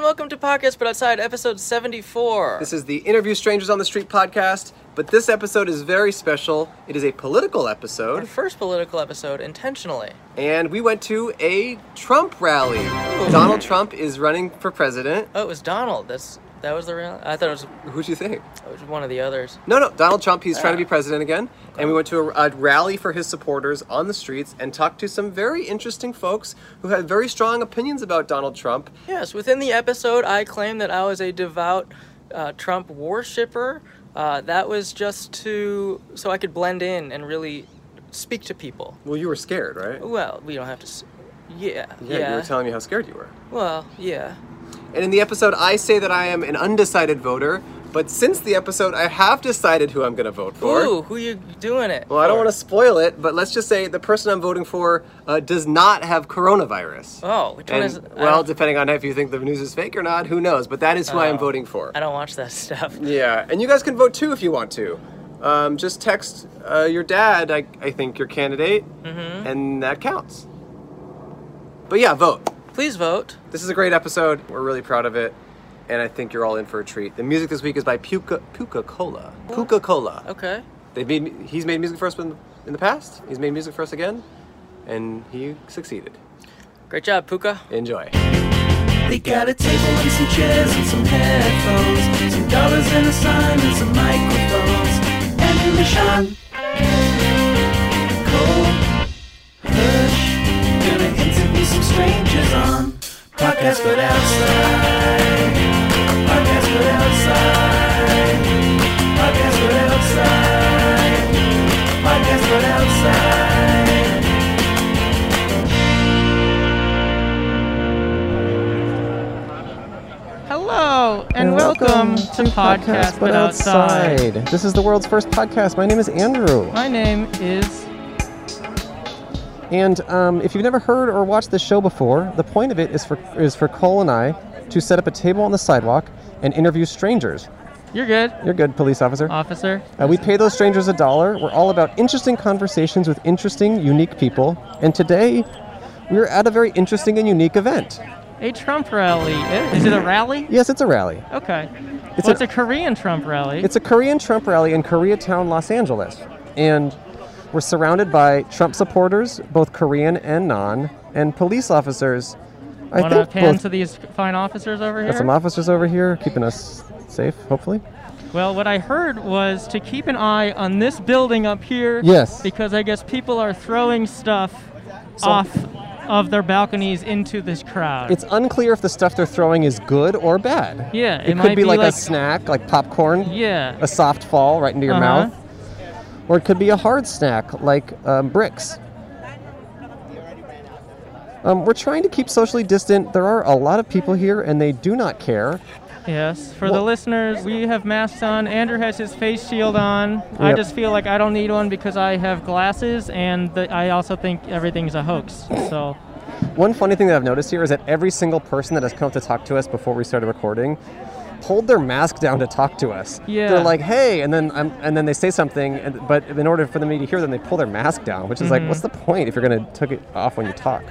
welcome to Podcast But Outside, episode 74. This is the Interview Strangers on the Street podcast, but this episode is very special. It is a political our episode, first political episode intentionally. and we went to a Trump rally. Donald Trump is running for president. Oh, it was Donald. That's That was the real. I thought it was, Who'd you think? it was one of the others. No, no, Donald Trump, he's trying to be president again. And we went to a, a rally for his supporters on the streets and talked to some very interesting folks who had very strong opinions about Donald Trump. Yes, within the episode, I claimed that I was a devout uh, Trump worshipper. Uh, that was just to. so I could blend in and really speak to people. Well, you were scared, right? Oh, Well, we don't have to. s yeah. Yeah, you were telling me how scared you were. well, yeah. And in the episode, I say that I am an undecided voter, but since the episode, I have decided who I'm going to vote for. Ooh, who you doing it? Well, I don't for? want to spoil it, but let's just say the person I'm voting for uh, does not have coronavirus. Oh, which one And, is? I well, don't- depending on if you think the news is fake or not, who knows? But that is who I am voting for. Oh. I don't watch that stuff. Yeah, and you guys can vote too if you want to. Um, just text uh, your dad, I, I think, your candidate, Mm-hmm. and that counts. But yeah, vote. Please vote. This is a great episode. We're really proud of it, and I think you're all in for a treat. The music this week is by Puka Puka Cola. Puka Cola. Okay. They made he's made music for us in, in the past. He's made music for us again, and he succeeded. Great job, Puka. Enjoy. They got a table and some chairs and some headphones, some dollars and a sign and some microphones. Emily Sean, Cole, Hirsch, gonna interview some strangers on podcast but outside, podcast but outside, podcast but outside, podcast but outside. Hello and welcome, to Podcast But Outside. This is the world's first podcast. My name is Andrew, My name is and um, if you've never heard or watched this show before, the point of it is for is for Cole and I to set up a table on the sidewalk and interview strangers. You're good, You're good, police officer. officer. Uh, we pay those strangers a dollar. We're all about interesting conversations with interesting, unique people. And today, we're at a very interesting and unique event. A Trump rally. Eh, Is it a rally? Yes, it's a rally. Okay. It's well, a- it's a Korean Trump rally. It's a Korean Trump rally in Koreatown, Los Angeles. And we're surrounded by Trump supporters, both Korean and non, and police officers. I Want to pan both- to these fine officers over here? got some officers over here keeping us safe, hopefully. Well, what I heard was to keep an eye on this building up here. Yes. Because I guess people are throwing stuff off of their balconies into this crowd. It's unclear if the stuff they're throwing is good or bad. Yeah, it, it could might be, be like, a like- snack, like popcorn. yeah. a soft fall right into your Uh-huh. mouth, or it could be a hard snack like um, bricks. Um, we're trying to keep socially distant. There are a lot of people here, and they do not care. Yes, for the Well- listeners, we have masks on. Andrew has his face shield on. I Yep. just feel like I don't need one because I have glasses, and the, I also think everything's a hoax. So, One funny thing that I've noticed here is that every single person that has come up to talk to us before we started recording pulled their mask down to talk to us. Yeah. They're like, "Hey," and then I'm, and then they say something, and, but in order for me to hear them, they pull their mask down, which is Mm-hmm. like, "What's the point if you're gonna take it off when you talk?"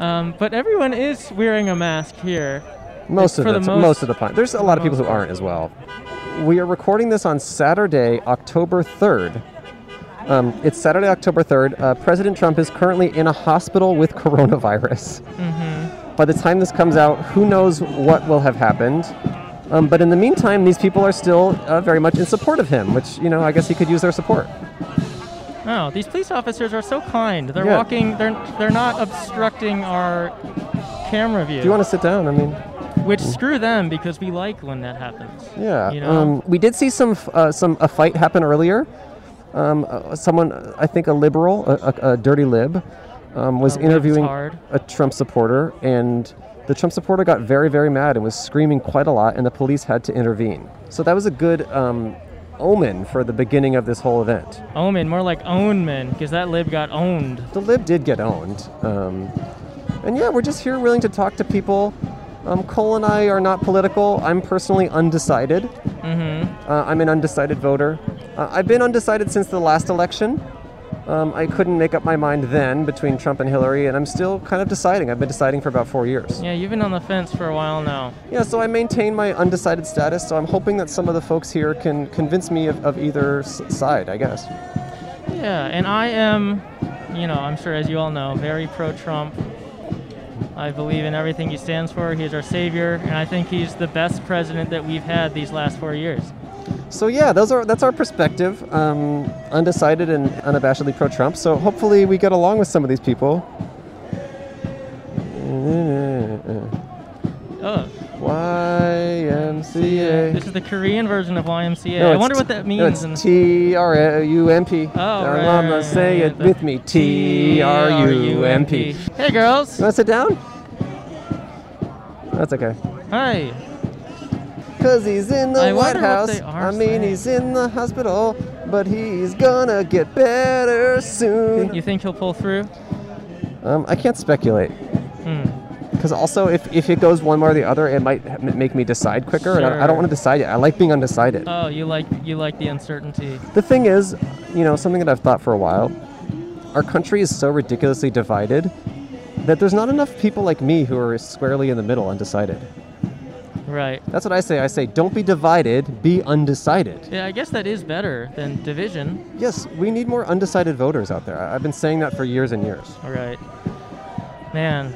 um, but everyone is wearing a mask here. Most of For the, the t- most- most of the time. There's a lot of people who aren't as well. We are recording this on Saturday, October 3rd. Um, it's Saturday, October 3rd. Uh, President Trump is currently in a hospital with coronavirus. Mm-hmm. By the time this comes out, who knows what will have happened. Um, but in the meantime, these people are still uh, very much in support of him, which, you know, I guess he could use their support. Oh, these police officers are so kind. They're Yeah. walking. They're they're not obstructing our camera view. Do you want to sit down? I mean, which screw them because we like when that happens. Yeah. You know? um, we did see some f- uh, some a fight happen earlier. Um, uh, someone, uh, I think a liberal, a, a, a dirty lib, um, was A interviewing libtard. a Trump supporter, and the Trump supporter got very, very mad and was screaming quite a lot, and the police had to intervene. So that was a good um, omen for the beginning of this whole event. Omen, more like ownman, because that lib got owned. The lib did get owned. Um, and yeah, we're just here willing to talk to people. Um, Cole and I are not political. I'm personally undecided. Mm-hmm. Uh, I'm an undecided voter. Uh, I've been undecided since the last election. Um, I couldn't make up my mind then between Trump and Hillary, and I'm still kind of deciding. I've been deciding for about four years. Yeah, you've been on the fence for a while now. Yeah, so I maintain my undecided status, so I'm hoping that some of the folks here can convince me of, of either s- side, I guess. Yeah, and I am, you know, I'm sure as you all know, very pro Trump. I believe in everything he stands for. He's our savior, and I think he's the best president that we've had these last four years. So yeah, those are that's our perspective, um, undecided and unabashedly pro-Trump. So hopefully we get along with some of these people. Oh, YMCA. this is the Korean version of YMCA. No, I it's wonder t- what that means. No, it's in- T R U M P. Oh, right, right, right, say right, it the with me. T R U M P. T-R-U-M-P. Hey, girls. You want to sit down? That's okay. Hi. Cause he's in the I White wonder what House. they are I mean, saying. he's in the hospital, but he's gonna get better soon. You think he'll pull through? Um, I can't speculate. Hmm. Because also, if, if it goes one way or the other, it might ha- m- make me decide quicker. And I, I Sure. don't want to decide yet. I like being undecided. Oh, you like you like the uncertainty. the thing is, you know, something that I've thought for a while our country is so ridiculously divided that there's not enough people like me who are squarely in the middle, undecided. Right. That's what I say. I say, don't be divided, be undecided. Yeah, I guess that is better than division. Yes, we need more undecided voters out there. I- I've been saying that for years and years. All right. Man,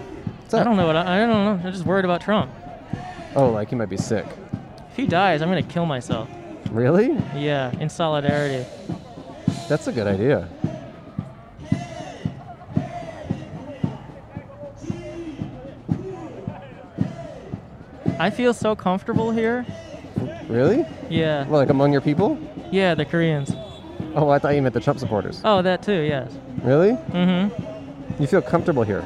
up? I don't know what I, I don't know. I'm just worried about Trump. Oh, like you might be sick. If he dies, I'm gonna kill myself. Really? Yeah, in solidarity. That's a good idea. I feel so comfortable here. Really? Yeah. Like among your people? Yeah, the Koreans. Oh, I thought you meant the Trump supporters. Oh, that too. Yes. Really? Mm-hmm. You feel comfortable here.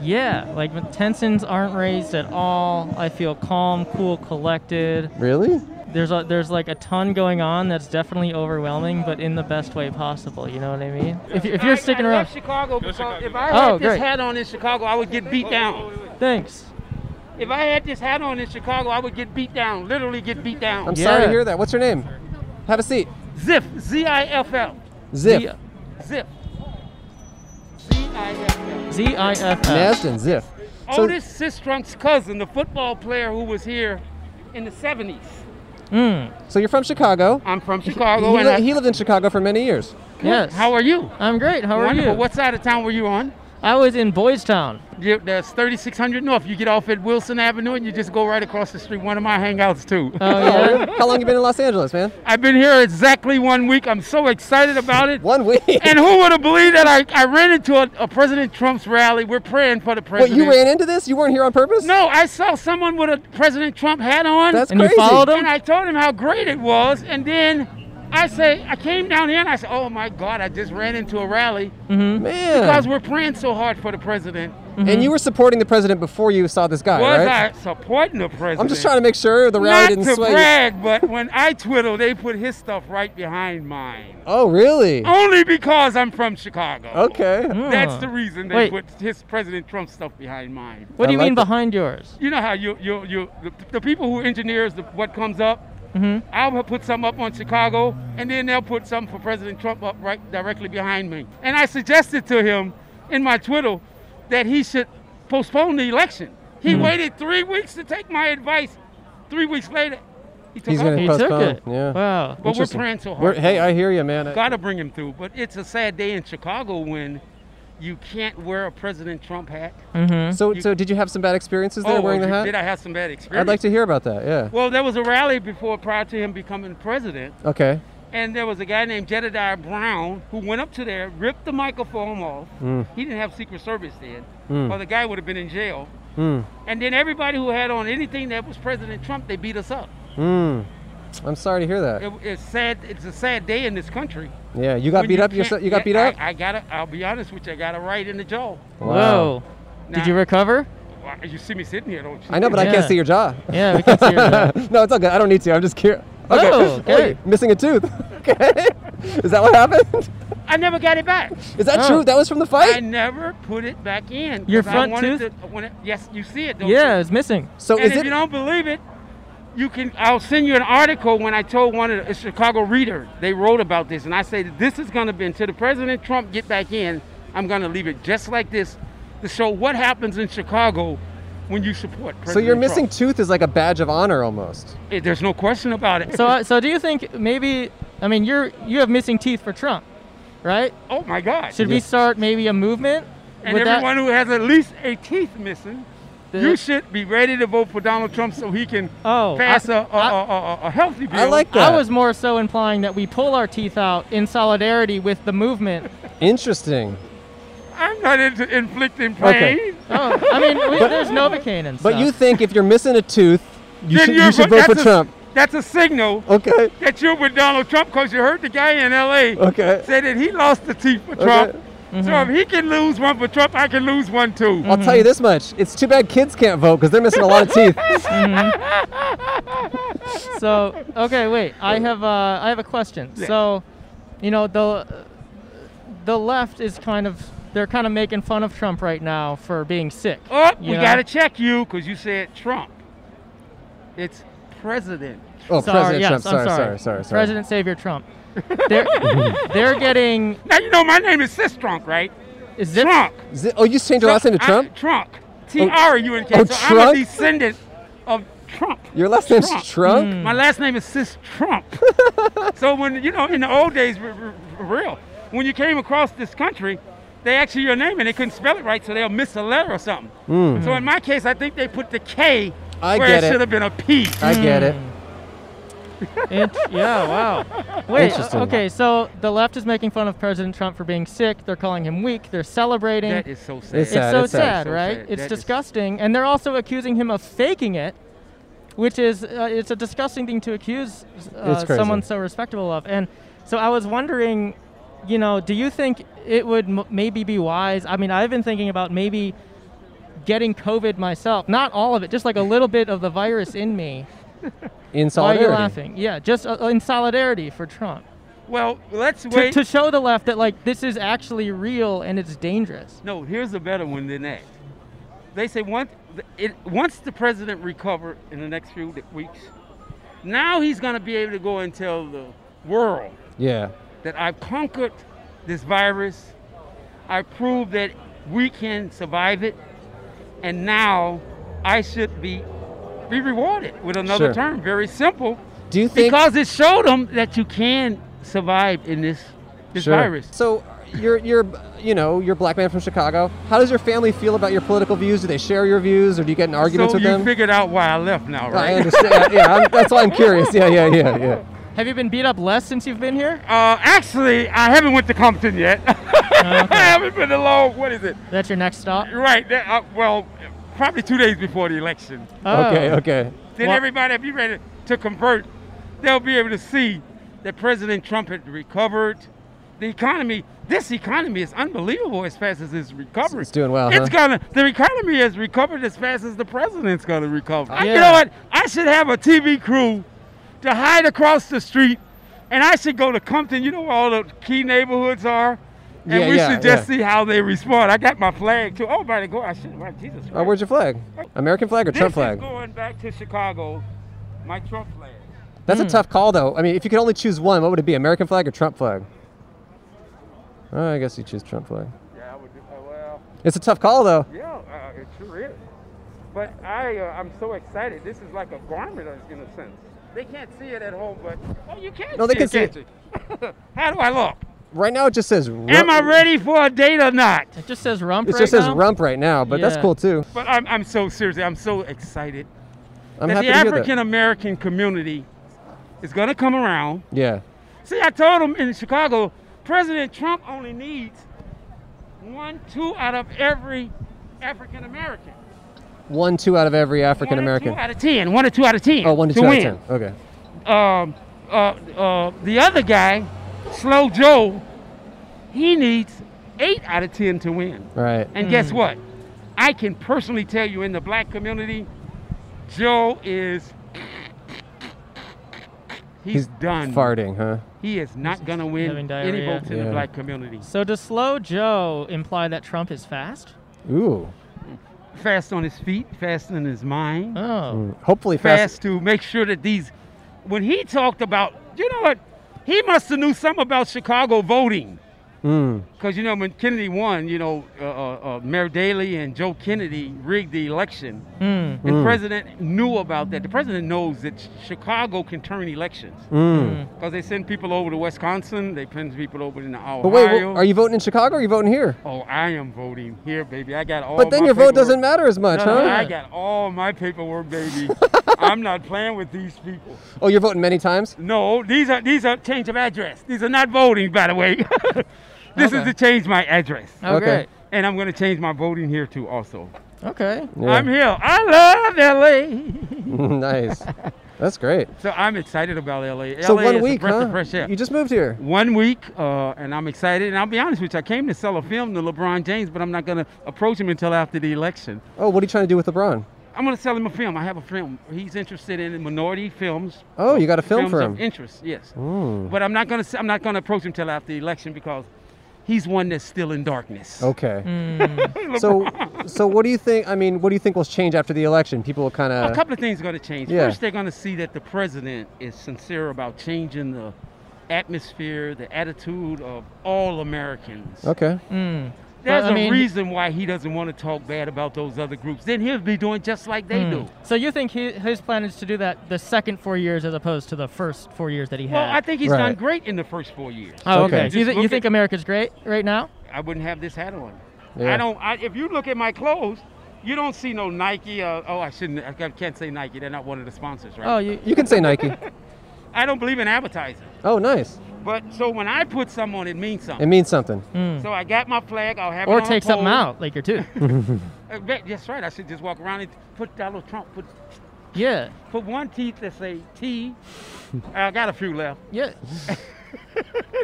Yeah, like my tensions aren't raised at all. I feel calm, cool, collected. Really? There's a, there's like a ton going on that's definitely overwhelming, but in the best way possible. You know what I mean? If, you- if you're sticking I around, left Chicago because if I Oh, had this great. hat on in Chicago, I would get beat down. thanks. If I had this hat on in Chicago, I would get beat down. Literally get beat I'm sorry down. to Yeah. hear that. What's your name? Have a seat. Ziff, Z I F L, Zip. Yeah. Ziff. Z I F L. Z I F F. Nastin, Zip. So, Otis Sistrunk's cousin, the football player who was here in the 70s. Mm. so you're from Chicago. I'm from He, Chicago, and li- I, he lived in Chicago for many years. Yes. how are you? I'm great. How are Wonderful. you? What side of town were you on? I was in Boys Town. Yeah, that's 3600 North. You get off at Wilson Avenue and you just go right across the street. One of my hangouts too. Oh yeah. How long you been in Los Angeles, man? I've been here exactly one week. I'm so excited about it. One week. And who would have believed that I, I ran into a, a President Trump's rally? We're praying for the What, president. you ran into this? You weren't here on purpose? No, I saw someone with a President Trump hat on. That's And crazy. you followed him? and I told him how great it was. And then I say, I came down here and I said, oh my God, I just ran into a rally Hmm. because Man. we're praying so hard for the president. And you were supporting the president before you saw this guy, Was right? I supporting the president? am just trying to make sure the rally Not didn't to sway. you. brag, but when I twiddle, they put his stuff right behind mine. Oh, really? Only because I'm from Chicago. Okay. That's Hmm. the reason they Wait. put his President Trump stuff behind mine. What do you I like mean it. behind yours? You know how you you you the, the people who engineers the, what comes up. Mm-hmm. I'll put some up on Chicago, and then they'll put some for President Trump up right directly behind me. And I suggested to him in my twiddle that he should postpone the election. He waited three weeks to take my advice. Three weeks later, he took He's up. gonna- He Postpone, took it. yeah. Wow. But we're Interesting. praying so hard. We're- hey, I hear you, man. I- Gotta bring him through. But it's a sad day in Chicago when you can't wear a President Trump hat. Mm-hmm. So, so did you have some bad experiences there wearing the Oh, you- hat? Did I have some bad experience? I'd like to hear about that. Yeah. Well, there was a rally before prior to him becoming president, Okay. and there was a guy named Jedediah Brown who went up to there, ripped the microphone off. Mm. He didn't have Secret Service then, or the guy would have been in jail. Mm. And then everybody who had on anything that was President Trump, they beat us up. Mm. I'm sorry to hear that. It, it's sad. It's a sad day in this country. Yeah, you got When beat up can't- yourself. You got yeah, beat up. I, I got. A, I'll be honest with you. I got a right in the jaw. Whoa. Nah. Did you recover? Why- You see me sitting here, don't you? I know, but I Yeah. can't see your jaw. Yeah, we can see your jaw. no, it's all good. I don't need to. I'm just curious. Okay. Oh, okay. Wait, missing a tooth. okay. Is that what happened? I never got it back. Is that Oh. true? That was from the I fight. never put it back in. Your 'cause I front wanted tooth? to- I wanted- yes, you see it. Don't Yeah, You? it's missing. so and is if it? you don't believe it, you can I'll send you an article when I told one of the a Chicago Reader they wrote about this and I said this is going to be until the President Trump get back in I'm going to leave it just like this to show what happens in Chicago when you support President So your missing Trump. tooth is like a badge of honor almost. Eh, There's no question about it. So, uh, so do you think maybe? I mean, you're you have missing teeth for Trump, right? oh my God! Should we Yes. start maybe a movement? and with that- everyone who has at least a teeth missing, The- you should be ready to vote for Donald Trump so he can Oh, pass I- a a I- a- a- a healthy bill. I like that. I was more so implying that we pull our teeth out in solidarity with the movement. Interesting. I'm not into inflicting pain. Okay. Oh, I mean, we, there's Novocaine and stuff. But you think if you're missing a tooth, you Then should, you're you should vo- vote for that's a- Trump. That's a signal Okay. that you're with Donald Trump because you heard the guy in L.A. Okay. said that he lost the teeth for Trump. Okay. Mm-hmm. So if he can lose one for Trump, I can lose one too. I'll tell you this much. It's too bad kids can't vote because they're missing a lot of teeth. so okay, wait. I have uh, I have a question. So, you know the the left is kind of they're kind of making fun of Trump right now for being sick. Oh, you we know? gotta check you because you said Trump. It's president. Oh, Sorry, President yes, Trump. I'm Sorry, sorry, sorry, sorry, President Savior Trump. They're they're getting Now you know my name is Sis Trump, right? is this Trump. Is it- oh, you just changed your last name to I- Trump? Trump. T R U N K. Oh, so I'm Trump? a descendant of Trump. Your last name's Trump. Trump? My last name is Sis Trump. so when you know, in the old days, r- r- r- real, when you came across this country, they asked you your name and they couldn't spell it right, so they'll miss a letter or something. So in my case, I think they put the K Hmm. I where get it it. should have been a P. I get it. Int- yeah, Oh, wow. Wait, Interesting. okay, so the left is making fun of President Trump for being sick. They're calling him weak. They're celebrating. That is so sad. it's It's sad, so it's sad, sad. So right? sad. It's That is- disgusting. And they're also accusing him of faking it, which is uh, it's a disgusting thing to accuse uh, It's crazy. someone so respectable of. And so I was wondering, you know, do you think it would m- maybe be wise? I mean, I've been thinking about maybe getting COVID myself. Not all of it, just like a little bit of the virus in me. In Why are solidarity. you laughing? Yeah, just uh, in solidarity for Trump. Well, let's to, wait. to show the left that like this is actually real and it's dangerous. No, here's a better one than that. They say once it, once the president recovered in the next few weeks, now he's going to be able to go and tell the world Yeah. that I've conquered this virus. I proved that we can survive it, and now I should be be rewarded with another Sure. term. Very simple, Do you think. because it showed them that you can survive in this this Sure. virus. So you're you're you know you're a black man from Chicago. How does your family feel about your political views? Do they share your views, or do you get in arguments so with you them? figured out why I left now, right? I understand. yeah, I'm, that's why I'm curious. Yeah, yeah, yeah, yeah. Have you been beat up less since you've been here? Uh, actually, I haven't went to Compton yet. I haven't been along. What is it? That's your next stop. Right. that- uh, well, probably two days before the election. Oh. Okay, okay. Then Wha- everybody will be ready to convert. They'll be able to see that President Trump had recovered. The economy, this economy is unbelievable as fast as it's recovering. It's doing well, It's huh? gonna. The economy has recovered as fast as the president's gonna recover. Oh, I- Yeah. You know what? I should have a TV crew to hide across the street, and I should go to Compton. You know where all the key neighborhoods are, and Yeah, we yeah, should just yeah. see how they respond. I got my flag too. Oh my God! I should. Wow, Jesus. Oh, where's your flag? American flag or this Trump Is flag? going back to Chicago, my Trump flag. That's Hmm. a tough call, though. I mean, if you could only choose one, what would it be? American flag or Trump flag? Oh, I guess you choose Trump flag. Yeah, I would do. oh, Well, It's a tough call, though. yeah, uh, it sure is. But I, uh, I'm so excited. This is like a garment uh, in a sense. They can't see it at home, but oh, you can't. No, they can see it, can't you? How do I look? Right now, it just says. Rump. Am I ready for a date or not? It just says rump. It right just says now? rump right now, but that's Yeah. cool too. But I'm, I'm so seriously, I'm so excited I'm that happy the to hear that. African American community is gonna come around. Yeah. See, I told them in Chicago, President Trump only needs one, two out of every African American. One, two out of every African American. One or two out of ten. One or two out of ten. Oh, one to two win. out of ten. Okay. um, uh, uh, the other guy, Slow Joe, he needs eight out of ten to win. All right. And guess what? I can personally tell you in the black community, Joe is. He's, done. Farting, huh? He is not going to having win any diarrhea. votes in Yeah. the black community. So does slow Joe imply that Trump is fast? Ooh. fast on his feet, fast in his mind, Mm. Oh, Hopefully fast fast. to make sure that these. When he talked about, you know what, he must have knew something about Chicago voting. Hmm. Because you know when Kennedy won, you know uh, uh, uh, Mayor Daley and Joe Kennedy rigged the election, Hmm. Mm. and president knew about that. The president knows that Chicago can turn elections Mm. because they send people over to Wisconsin, they send people over to Ohio. But wait, well, are you voting in Chicago or are you voting here? Oh, I am voting here, baby. I got all. But then my your vote paperwork. doesn't matter as much, No, huh? no, I got all my paperwork, baby. I'm not playing with these people. Oh, you're voting many times? No, these are these are change of address. These are not voting, by the way. this Okay. is to change my address, oh Okay. great. and I'm going to change my voting here too, also. Okay. Yeah. I'm here. I love LA. nice. That's great. so I'm excited about LA. so LA one is week, a breath huh? of fresh air. You just moved here. one week, uh, and I'm excited. And I'll be honest with you, I came to sell a film to LeBron James, but I'm not going to approach him until after the election. Oh, what are you trying to do with LeBron? I'm going to sell him a film. I have a film. He's interested in minority films. Oh, you got a film films for Of him. interest, yes. Mm. But I'm not going to. I'm not going to approach him till after the election because he's one that's still in darkness. Okay. Mm. Hmm. So, so what do you think? I mean, what do you think will change after the election? People will kind A of. couple of things are going to change. yeah. First, they're going to see that the president is sincere about changing the atmosphere, the attitude of all Americans. Okay. Mm. There's But, I mean- a reason why he doesn't want to talk bad about those other groups. Then he'll be doing just like Hmm. they do. So you think he, his plan is to do that the second four years as opposed to the first four years that he had? Well, I think he's Right. done great in the first four years. Oh, Okay. okay. You, Just th- you look think at- America's great right now? I wouldn't have this hat on. Yeah. I don't. I, if you look at my clothes, you don't see no Nike. Uh, oh, I shouldn't. I can't say Nike. They're not one of the sponsors, right? Oh, you, You can say Nike. I don't believe in advertising. Oh, nice. But so when I put something on, it means It something. means something. so I got my flag. I'll have or it on take a pole. something out like your two. Uh, that- That's right. I should just walk around and put Donald Trump. Put yeah. put one teeth that say T. I got a few left. Yeah.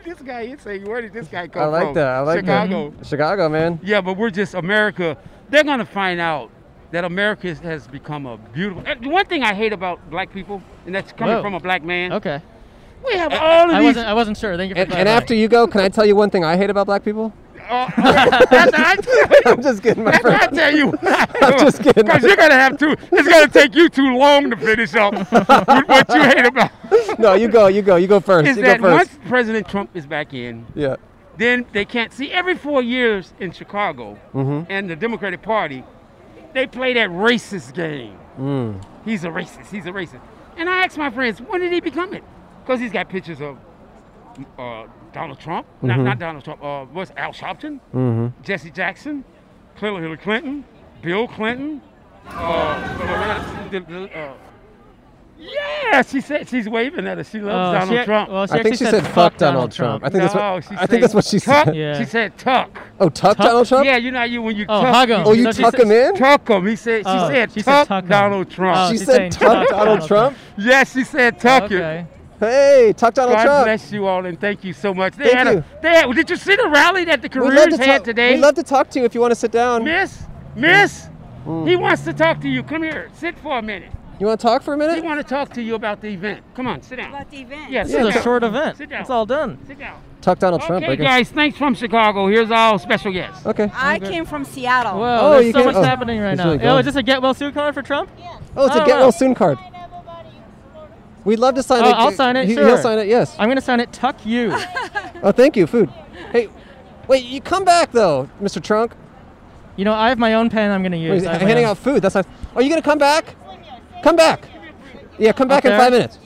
this guy is saying, where did this guy come I from? like that. I like Chicago. that. Chicago, man. Yeah, but we're just America. They're gonna find out that America is- has become a beautiful. and One thing I hate about black people, and that's coming Whoa. from a black man, Okay. we have all of I these. wasn't. I wasn't sure. Thank you for And, and clarifying. after you go, can I tell you one thing I hate about black people? oh, that's I tell I'm you. just kidding, my That's I friend. tell you. I'm just kidding. Because you're gonna have to. It's gonna take you too long to finish up with what you hate about. No, you go. You go. You go first. Is you that go first. once President Trump is back in, Yeah. then they can't see every four years in Chicago and the Democratic Party, they play that racist game. He's a racist. He's a racist. And I asked my friends, when did he become it? Because he's got pictures of uh, Donald Trump, not, not Donald Trump. Uh, what's Al Sharpton, Jesse Jackson, Hillary Clinton, Bill Clinton. Uh, Loretta- uh, yeah, she said she's waving at us. She Oh, loves Donald she- Trump. Well, she I think actually she said, "Fuck Donald Trump." I think that's No, what. she I think that's what she tuck. said. Yeah. She said tuck. Oh, tuck Donald Trump. Yeah, you know how you when you Oh, tuck. hug him. Oh, you No, she tuck said- him in? Tuck him. He said. She Oh, said she said tuck, tuck him. Donald Oh, Trump. she she's said saying tuck tuck Donald Donald Trump. yes, she said tuck him. Okay. Hey, tuck Donald God Trump. bless you all and thank you so much. They Oh, Thank had you. a. They had, did you see the rally that the We'd love, careers to had talk, today? we'd love to talk to you if you want to Mm. sit down. miss, miss. He wants to talk to you. Come here. Sit for a minute. You want to talk for a He minute? wants to talk to you about the event. Come on, sit down. about the event. Yeah, This sit is a down. short event. Sit down. It's all done. Sit down. Tuck Donald Trump. I Okay, guess. guys. Thanks from Chicago. Here's our special guest. Okay. I came from Seattle. Whoa. Oh, you there's so can't- much oh, happening right he's now. really oh, gone. is this a get well soon card for Trump? Oh, it's a Oh, get wow. well soon card. We'd love to sign Oh, it. I'll sign it, He, sure. He'll sign it. Yes. I'm gonna sign it. Tuck you. Oh, thank you. Food. Hey, wait. You come back though, Mr. Trunk. you know, I have my own pen. I'm gonna Wait, use. he's I have my handing own- out food. That's not. Are you gonna come back? Come back. Yeah, come back in Okay. five minutes.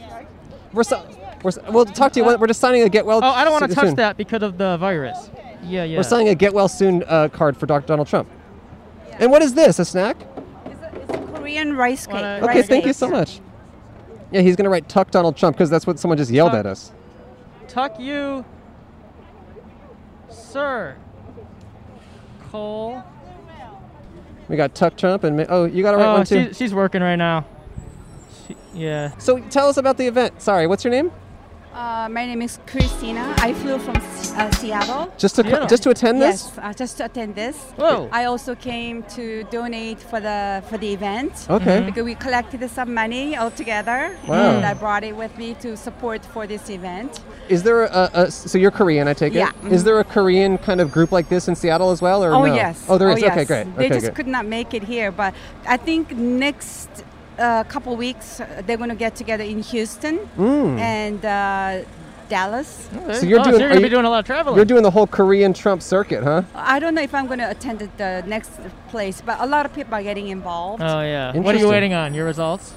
We're, si- we're si- we'll talk to you. when- We're just signing a get well. Oh, I don't want to soon- touch soon. that because of the virus. Yeah, yeah. We're signing a get well soon uh, card for Dr. Donald Trump. And what is this? A snack? It's a, it's a Korean rice cake. Wanna- Okay, rice thank you so cake. much. Yeah, he's gonna write "Tuck Donald Trump" because that's what someone just yelled Tuck. at us. Tuck you, sir. Cole. We got Tuck Trump and ma- oh, you got to write oh, one too. she, she's working right now. She, yeah. So tell us about the event. Sorry, what's your name? Uh, my name is Christina. I flew from Se- uh, Seattle. Just to Yeah. co- just to attend this? Yes, uh, just to attend this. Whoa. I also came to donate for the for the event. Okay. Mm-hmm. Because we collected some money all together, Oh. Wow. and I brought it with me to support for this event. Is there a, a so you're Korean? I take it. Yeah. Is there a Korean kind of group like this in Seattle as well? Or oh no? yes. Oh, there is. Okay, yes. great. They okay, just good. could not make it here, but I think next uh, couple weeks uh, they're going to get together in Houston Mm. and uh, Dallas. So you're oh, doing- so you're are gonna you- be doing a lot of traveling. You're doing the whole Korean Trump circuit, huh? I don't know if I'm going to attend at the next place, but a lot of people are getting involved. oh yeah. What are you Interesting. waiting on? Your results?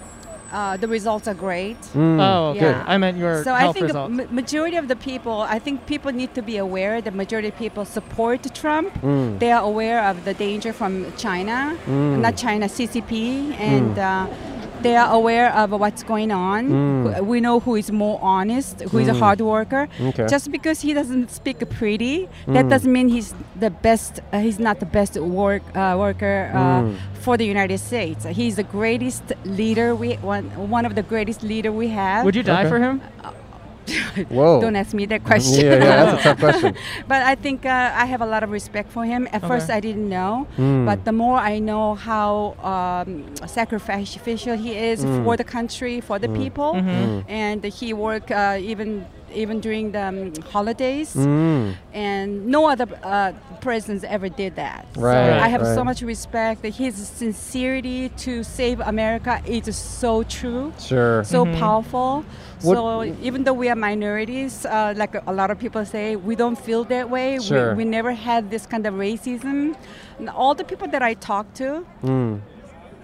Uh, the results are great. Hmm, Oh, okay. Good. I meant your So I health think results. ma- majority of the people, I think people need to be aware. The majority of people support Trump. Hmm. They are aware of the danger from China, not China CCP, and Hmm. uh, they are aware of what's going on. Wh- We know who is more honest, who Hmm. is a hard worker. Okay. Just because he doesn't speak pretty, Hmm. that doesn't mean he's the best. Uh, he's not the best work uh, worker uh, Hmm. for the United States. He's the greatest leader we one one of the greatest leader we have. Would you die Okay. for him? Whoa. Don't ask me that question. Oh. Yeah, yeah, that's a tough question. but I think uh, I have a lot of respect for him. At first, I didn't know, Hmm. but the more I know how um, sacrificial he is Hmm. for the country, for the people, and he worked uh, even even during the um, holidays, Hmm. and no other uh, presidents ever did that. So Right, I have so right. much respect. His sincerity to save America is so true Sure. so Mm-hmm. powerful. What- so even though we are minorities, uh, like a lot of people say, we don't feel that way. Sure. We, we never had this kind of racism. And all the people that I talk to, Mm.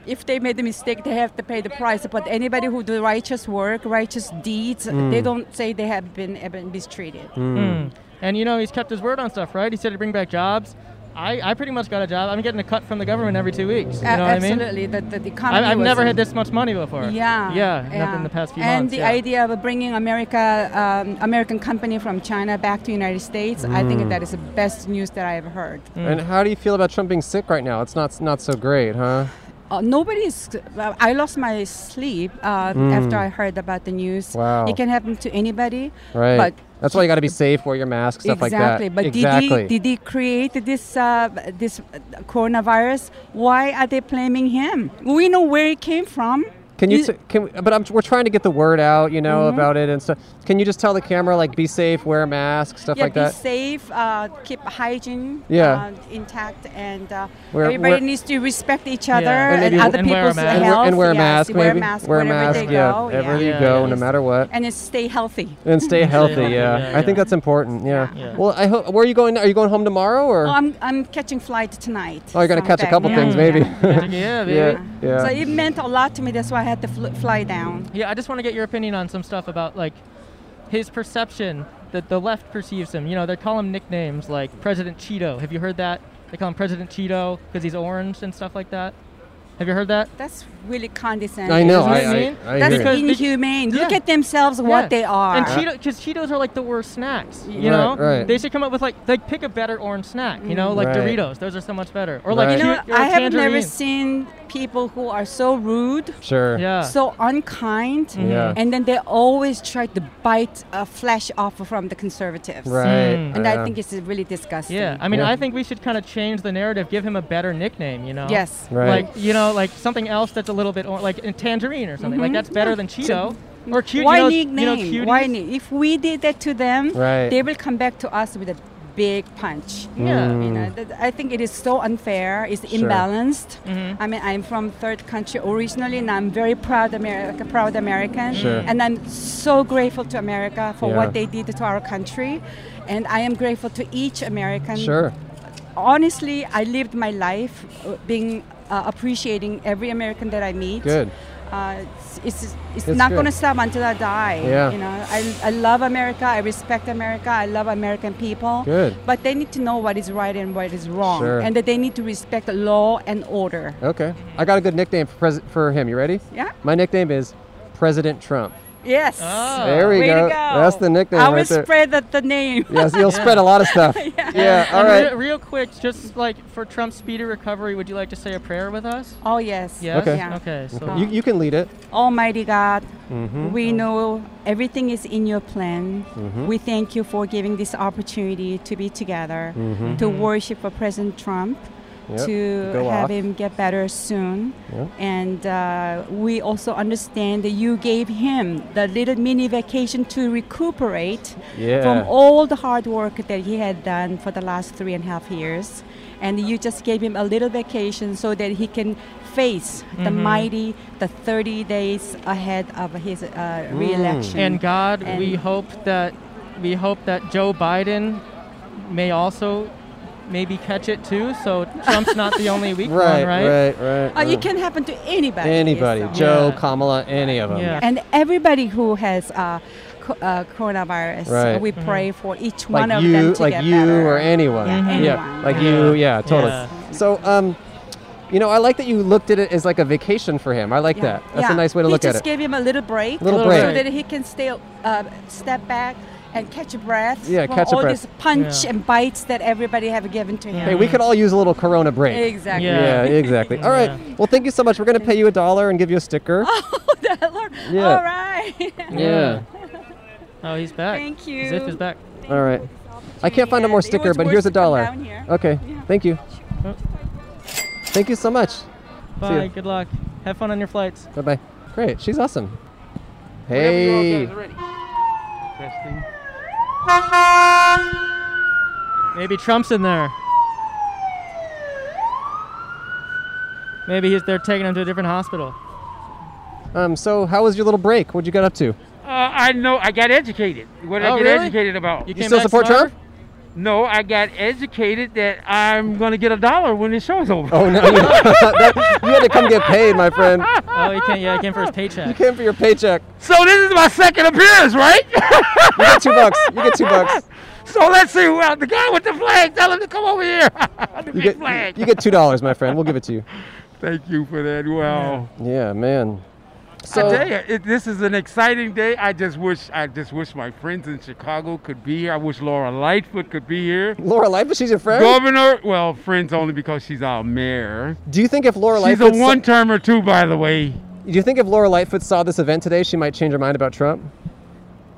if they made a mistake, they have to pay the price. But anybody who do righteous work, righteous deeds, they don't say they have been, have been mistreated. Hmm. Mm. And you know, he's kept his word on stuff, right? He said he'd bring back jobs. I, I pretty much got a job. I'm getting a cut from the government every two weeks. You A- know what I mean? absolutely, the, the, the economy I, I've was- never had this much money before. Yeah, Yeah. Not in the past few and months. the yeah. idea of bringing America, um, American company from China back to United States, I think that is the best news that I have heard. And how do you feel about Trump being sick right now? It's not not so great, huh? Uh, nobody's. I lost my sleep uh, after I heard about the news. Wow. It can happen to anybody. Right. But That's why you got to be safe. Wear your mask, stuff exactly. like that. But exactly. did he did he create this uh, this uh, coronavirus? Why are they blaming him? We know where it came from. Can you? Is- T- can we, but I'm, we're trying to get the word out, you know, Mm-hmm. about it and stuff. Can you just tell the camera like, be safe, wear a mask, stuff yeah, like be that? safe. Uh, keep hygiene Yeah. uh, intact, and uh, We're- everybody we're- needs to respect each other And and, maybe- other And wear a people's mask. and, wear, health. and wear a yes, mask, wear a maybe. mask wear a wherever mask, they yeah. go. Wherever yeah. you go, Yeah. no matter what. And it's stay healthy. And stay healthy, healthy, yeah. yeah, I think yeah. that's important, yeah. Yeah. Well, I hope. Where are you going? now? Are you going home tomorrow, or? Oh, I'm, I'm catching flight tonight. Oh, you're gonna so I'm catch a back couple now. things, Yeah. maybe. Yeah, yeah, baby. yeah, yeah. So it meant a lot to me. That's why I had to fl- fly down. Yeah, I just want to get your opinion on some stuff about like his perception that the left perceives him. You know, they call him nicknames like President Cheeto. Have you heard that? They call him President Cheeto because he's orange and stuff like that. Have you heard that? That's really condescending. I know. Isn't I, it mean? I, I That's hear. Because- you. inhumane. Look Yeah. at themselves, what Yeah. they are. And Cheeto, because Cheetos are like the worst snacks. You Right, know, right. they should come up with like like pick a better orange snack. You know, like Right. Doritos. Those are so much better. Or like Right. you You know, cute- or I have never tangerine. seen people who are so rude, Sure. Yeah. so unkind, Uh. Yeah. and then they always try to bite a flesh off from the conservatives. Right. Mm. And yeah. I think it's really disgusting. yeah, I mean, Yeah. I think we should kind of change the narrative, give him a better nickname, you know? Yes. Right. Like, you know, like something else that's a little bit, or, like a tangerine or something. Like, Mm-hmm. that's better than Cheeto. Or cute, Why you know, nickname? You know, cuties. Why ni- If we did that to them, Right. they will come back to us with a big punch. Yeah. Mm. You know, that, I think it is so unfair. It's imbalanced. I mean, I'm from third country originally, and I'm very proud America, proud American, Sure. and I'm so grateful to America for Yeah. what they did to our country, and I am grateful to each American. Sure. Honestly, I lived my life uh, being uh, appreciating every American that I meet. Good. Uh, it's it's, it's That's not good. going to stop until I die. Yeah. You know, I, I love America. I respect America. I love American people. Good. But they need to know what is right and what is wrong, Sure. and that they need to respect law and order. Okay. I got a good nickname for pres- for him. You ready? Yeah. My nickname is President Trump. Yes. Ah. There we Oh, Way go. to go. That's the nickname I will right there. spread the, the name. yes, you'll spread a lot of stuff. yeah. All And right. Real, real quick, just like for Trump's speedy recovery, would you like to say a prayer with us? Oh yes. Yes. Okay. Yeah. Okay. So You, you can lead it. Almighty God, Mm-hmm. we know everything is in your plan. We thank you for giving this opportunity to be together, to worship for President Trump, Mm-hmm. Yep. to Go have off. him get better soon. Yep. And uh, we also understand that you gave him the little mini vacation to recuperate Yeah. from all the hard work that he had done for the last three and a half years. And you just gave him a little vacation so that he can face the Mm-hmm. mighty, the 30 days ahead of his uh, Mm. re-election. and God, we And- hope that we hope that Joe Biden may also maybe catch it too. So Trump's not the only weak Right, one, right? right, right. Uh, it right. can happen to anybody. Anybody, yes, so- Joe, Yeah. Kamala, any of them. Yeah. And everybody who has uh, co- uh, coronavirus, Right. Mm-hmm. we pray for each Like one of you, them to like get you better. or anyone. Yeah, yeah, anyone. like Yeah. you. Yeah, totally. Yeah. So, um, you know, I like that you looked at it as like a vacation for him. I like Yeah. that. That's Yeah. a nice way to He look at just it. gave him a little break, Little Little break. so break. that he can stay, uh, step back and catch a breath. Yeah, from catch a all breath. these punch Yeah. and bites that everybody have given to him. Hey, we could all use a little Corona break. Exactly. Yeah. Yeah, exactly. All right. Yeah. Well, thank you so much. We're gonna pay you a dollar and give you a sticker. Yeah. All right. Yeah. Oh, he's back. Thank you. Zip is back. All right. I can't find a Yeah, more it sticker, was but worth here's a to come dollar. Uh, down here. Okay. Yeah. Thank you. Oh. Thank you so much. Bye. Good luck. Have fun on your flights. Bye bye. Great. She's awesome. Whenever you all Hey. guys are ready. Testing. Maybe Trump's in there. Maybe he's, they're taking him to a different hospital. Um. So, how was your little break? What'd you get up to? Uh, I know. I got educated. What did Oh, I get really? educated about? You still back support smarter? Trump? No, I got educated that I'm gonna get a dollar when this show's over. Oh no! You, that- you had to come get paid, my friend. Oh, he can't. Yeah, he came for his You paycheck. came for your paycheck. So this is my second appearance, right? You get two bucks. You get two bucks. so let's see who out. The guy with the flag. Tell him to come over here. the You big get flag. you get two dollars, my friend. We'll give it to you. Thank you for that. Wow. Yeah, man. So I tell you, it, this is an exciting day. I just wish, I just wish my friends in Chicago could be here. I wish Laura Lightfoot could be here. Laura Lightfoot, she's your friend. Governor, well, friends only because she's our mayor. Do you think if Laura She's Lightfoot, a saw- one-termer too, by the way. do you think if Laura Lightfoot saw this event today, she might change her mind about Trump?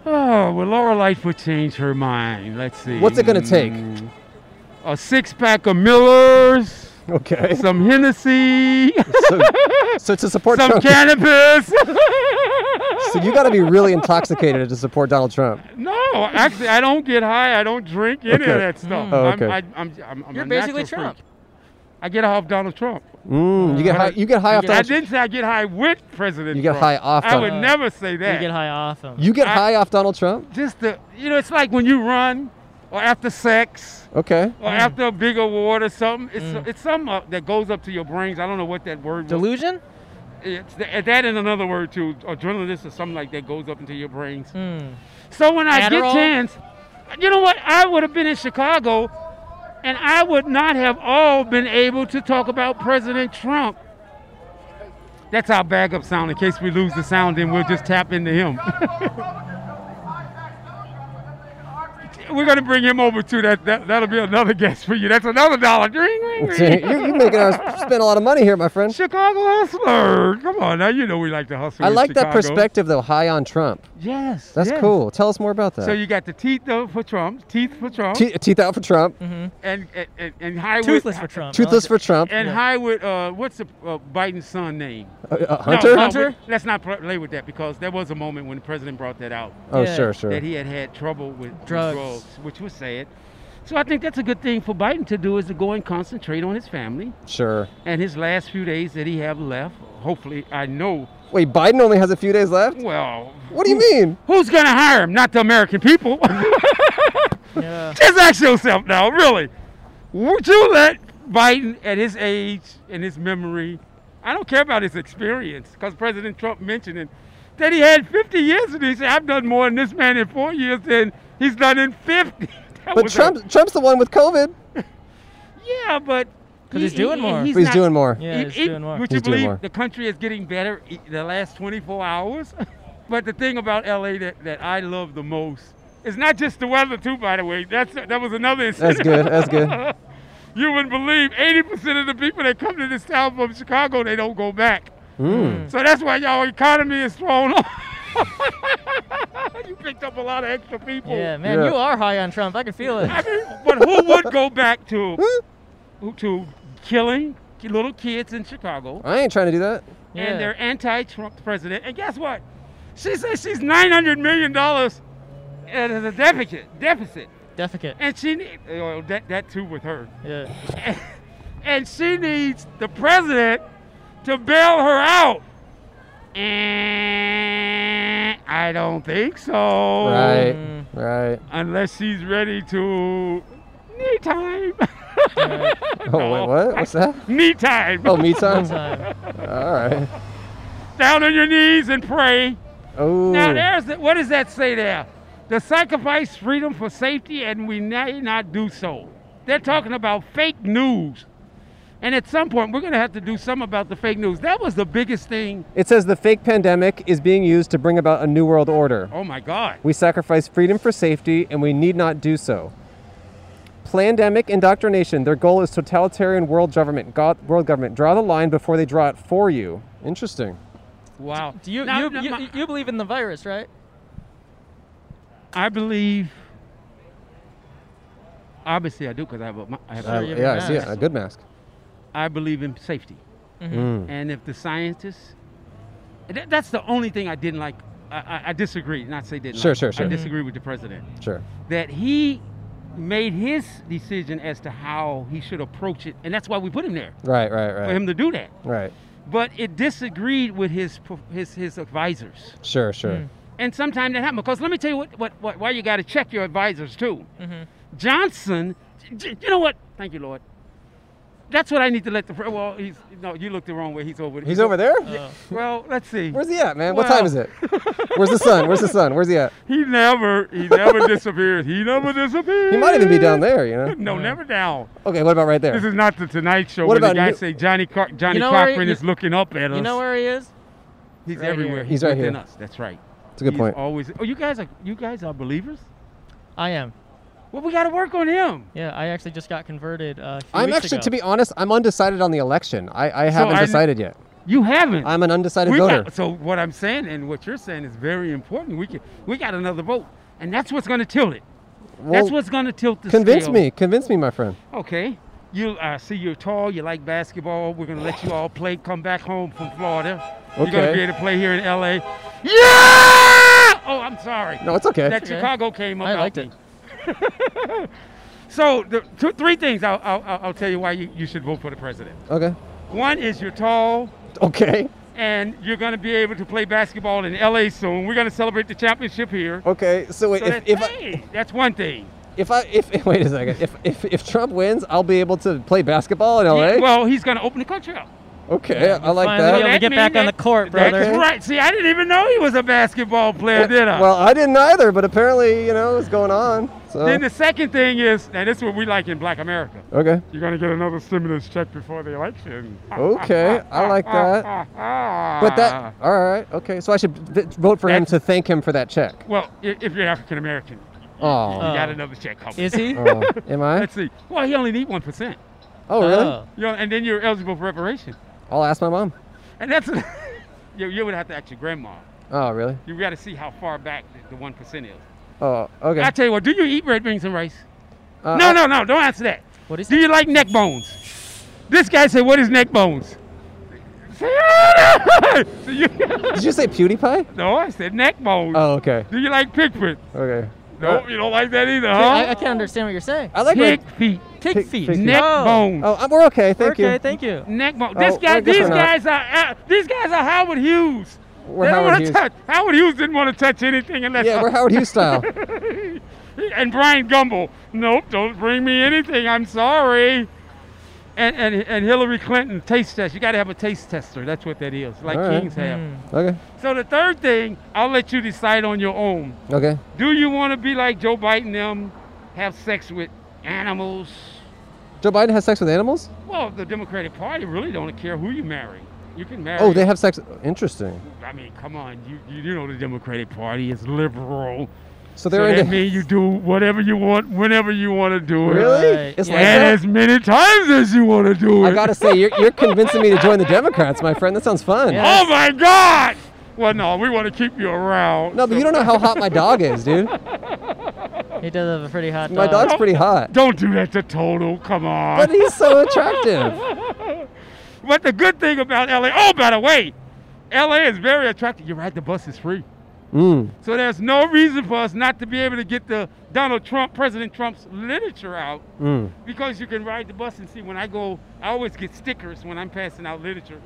Oh, will Laura Lightfoot change her mind? Let's see. What's it gonna take? Mm, A six-pack of Millers, Okay. So, some Hennessy, so, to support some Trump, cannabis. so you got to be really intoxicated to support Donald Trump. No, actually, I don't get high. I don't drink any Okay. of that stuff. Oh, I'm- okay. I, I'm, I'm, I'm You're a basically natural Trump. freak. I get off Donald Trump. Mm, you get high. You get high off I Donald. didn't say I get high with President You get Trump. high off I Donald- would never say You that. get high off him. You get I- high off Donald Trump. Just the, you know, it's like when you run or after sex Okay. or after a big award or something. It's, it's something up that goes up to your brains. I don't know what that word was. Delusion? It's th- that and another word too, adrenaline or something like that goes up into your brains. Hmm. So when I Adderall? get chance, you know what? I would have been in Chicago, and I would not have all been able to talk about President Trump. That's our backup sound. In case we lose the sound, then we'll just tap into him. We're gonna bring him over too. That, that that'll be another guest for you. That's another dollar. Ring, ring, you, ring. you making us spend a lot of money here, my friend. Chicago hustler. Come on, now you know we like to hustle. I in like that Chicago. perspective though. High on Trump. Yes, That's yes. cool. Tell us more about that. So you got the teeth though for Trump, teeth for Trump, Te- teeth out for Trump. Mm-hmm. and and and, and high with- Toothless for Trump. I like Toothless it. for Trump. And high with uh, what's the, uh, Biden's son name? Uh, uh, No, Hunter. no, we- let's not pl- play with that because there was a moment when the president brought that out Oh Yeah. sure, sure. that he had had trouble with with Drugs. drugs which was sad. So I think that's a good thing for Biden to do is to go and concentrate on his family Sure. and his last few days that he have left. Hopefully, I know. Wait, Biden only has a few days left. Well, What do you mean? who's gonna hire him? Not the American people. Yeah. Just ask yourself now, really. Would you let Biden, at his age and his memory, I don't care about his experience, because President Trump mentioned it, that he had 50 years and he said, I've done more in this man in four years than he's done in 50. That But was a- Trump, Trump's the one with COVID. yeah, but. 'Cause he's doing more. But he's doing more. Yeah, he's doing more. Would He's you doing believe more. the country is getting better e- the last 24 hours? But the thing about LA that, that I love the most is not just the weather too, by the way. That's that was another That's incident. good. That's good. You wouldn't believe 80% of the people that come to this town from Chicago, they don't go back. Hmm. So that's why y'all economy is thrown off. you picked up a lot of extra people. Yeah, man, Oh. Yeah. you are high on Trump. I can feel it. I mean, but who would go back to who- to killing ki- little kids in Chicago I ain't trying to do that. Yeah. and their anti-Trump president? And guess what? She says she's 900 million dollars as a deficit. Deficit, Defecate. and she need, well, that that too with her. Yeah. and she needs the president to bail her out. And I don't think so. Right. Right. Unless she's ready to knee time. Oh wait, what? What's that? knee time. Oh, me time. Time. All right. Down on your knees and pray. Oh. Now Mm. there's the, what does that say there? The sacrifice freedom for safety, and we may not do so. They're talking about fake news, and at some point we're gonna have to do something about the fake news. That was the biggest thing. It says the fake pandemic is being used to bring about a new world order. Oh my God! We sacrifice freedom for safety, and we need not do so. Plandemic indoctrination. Their goal is totalitarian world government. God, world government. Draw the line before they draw it for you. Interesting. Wow. Do you, Now, you, now, you, my- you believe in the virus, right? I believe. Obviously, I do because I have a. ma- I have a- Sure, Uh, you have a yeah, I see it. mask. A good mask. I believe in safety. Mm. And if the scientists, that, that's the only thing I didn't like. I, I, I disagree. Not say didn't. Sure, like. sure, sure. I disagree with the president Sure. that he made his decision as to how he should approach it, and that's why we put him there Right. Right. for Right. him to do that. Right. But it disagreed with his pro- his his advisors. Sure. Sure. And sometimes that happens. Because let me tell you what, what, what why you got to check your advisors too. Mm-hmm. Johnson, j- you know what? Thank you, Lord. That's what I need to let the pre- well. He's no, you looked the wrong way. He's over. He's over there. Well, let's see. Where's he at, man? What time Well- is it? Where's the sun? Where's the sun? Where's he at? He never, he never disappears. He never disappears. He might even be down there. You know. No, never down. Okay. What about right This there? is not the Tonight Show. What about where the guy New- say Johnny Car- Johnny know where he- Cochran is looking up at us? You know where he is? he's Right everywhere. here. He's right within here. us. That's right. That's a good He's point. Always. Oh, you guys are you guys are believers. I am. Well, we got to work on him. Yeah, I actually just got converted. Uh, a few I'm weeks actually, ago. to be honest, I'm undecided on the election. I, I haven't I kn- decided yet. You haven't. I'm an undecided We voter. got- so what I'm saying and what you're saying is very important. We can, we got another vote, and that's what's going to tilt it. Well, that's what's going to tilt the Convince scale. me, convince me, my friend. Okay. You I see you're tall. You like basketball. We're going to let you all play. Come back home from Florida. You're going Okay. to be able to play here in L.A. Yeah. Oh, I'm sorry. No, it's okay. That Chicago came up. I out liked me. it. So the two, three things I'll, I'll, I'll- I'll tell you why you, you should vote for the president. Okay. One is you're tall. Okay. and you're going to be able to play basketball in LA soon. We're going to celebrate the championship here. Okay. So wait, So Oh, if, that's, if, I, hey, that's one thing. if I if wait a second, if, if if Trump wins, I'll be able to play basketball in LA. Yeah, well, he's going to open the country up. okay, I like finally that. able to get mean back on the court, brother. That's right. See, I didn't even know he was a basketball player, did I? Well, I didn't either, but apparently, you know, it's going on. So then the second thing is, and this is what we like in Black America. okay, You're going to get another stimulus check before the election. okay, I like that. But Oh, that all right. Okay, so I should v- vote for him That's- to thank him for that check. Well, i- if you're African American, you Oh, Uh, got another check coming. Is he? oh, am I? Let's see. Well, he only need one percent. Oh, really? Oh. You know, and then you're eligible for reparation. I'll ask my mom. And that's you, you would have to ask your grandma. Oh, really? You got to see how far back the- the one percent is. Oh, okay. I tell you what, do you eat red beans and rice? Uh, no, no, no, don't answer that. What is Do you like neck bones? This guy said, "What is neck bones?" Say, "Oh, no!" Do you- Did you say PewDiePie? no, I said neck bones. Oh, okay. Do you like pig feet? Okay. No, you don't like that either, huh? I, I can't understand what you're saying. I like pig red- feet, Pig Pig- feet. pig- neck oh. bones, Oh, uh, we're okay. Thank okay, you. thank you. neck bones. Oh, This guy, I guess these we're not. guys are uh, these guys are Howard Hughes. We're they don't Howard wanna Hughes. touch. Howard Hughes didn't want to touch anything unless Yeah, we're Howard Hughes style. and Brian Gumble. Nope, don't bring me anything. I'm sorry. And and, and Hillary Clinton taste test. You got to have a taste tester. That's what that is, like All right. Kings have. Okay. So the third thing, I'll let you decide on your own. Okay. Do you want to be like Joe Biden them, have sex with animals? Joe Biden has sex with animals? Well, the Democratic Party really don't care who you marry. You can marry. Oh, they have sex. Interesting. I mean, come on. You, you you know the Democratic Party is liberal. So So they're that into. means you do whatever you want, whenever you want to do it. Really? Right. It's Yeah. like And that? as many times as you want to do it. I gotta say, you're, you're convincing me to join the Democrats, my friend. That sounds fun. Yeah. oh my God! Well, no, we want to keep you around. No, but you don't know how hot my dog is, dude. He does have a pretty hot My dog. dog's pretty hot. Don't do that to Total. Come on. But he's so attractive. But the good thing about LA, oh, by the way, LA is very attractive. You ride the bus, it's free. Mm. So there's no reason for us not to be able to get the Donald Trump, President Trump's literature out Mm. because you can ride the bus and see. When I go, I always get stickers when I'm passing out literature.